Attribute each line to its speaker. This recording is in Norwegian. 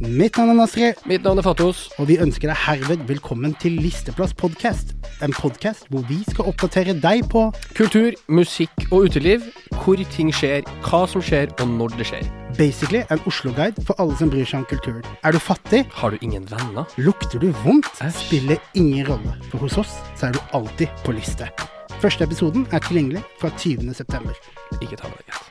Speaker 1: Mitt navn er Nasri,
Speaker 2: Mitt navn er Fattos.
Speaker 1: og vi ønsker deg herved velkommen til Listeplass podcast. En podcast hvor vi skal oppdatere deg på
Speaker 2: Kultur, musikk og uteliv. Hvor ting skjer, hva som skjer, og når det skjer.
Speaker 1: basically en Oslo-guide for alle som bryr seg om kulturen. Er du fattig?
Speaker 2: Har du ingen venner?
Speaker 1: Lukter du vondt?
Speaker 2: Æsj.
Speaker 1: Spiller ingen rolle, for hos oss så er du alltid på liste. Første episoden er tilgjengelig fra 20. september.
Speaker 2: Ikke ta med deg, gitt.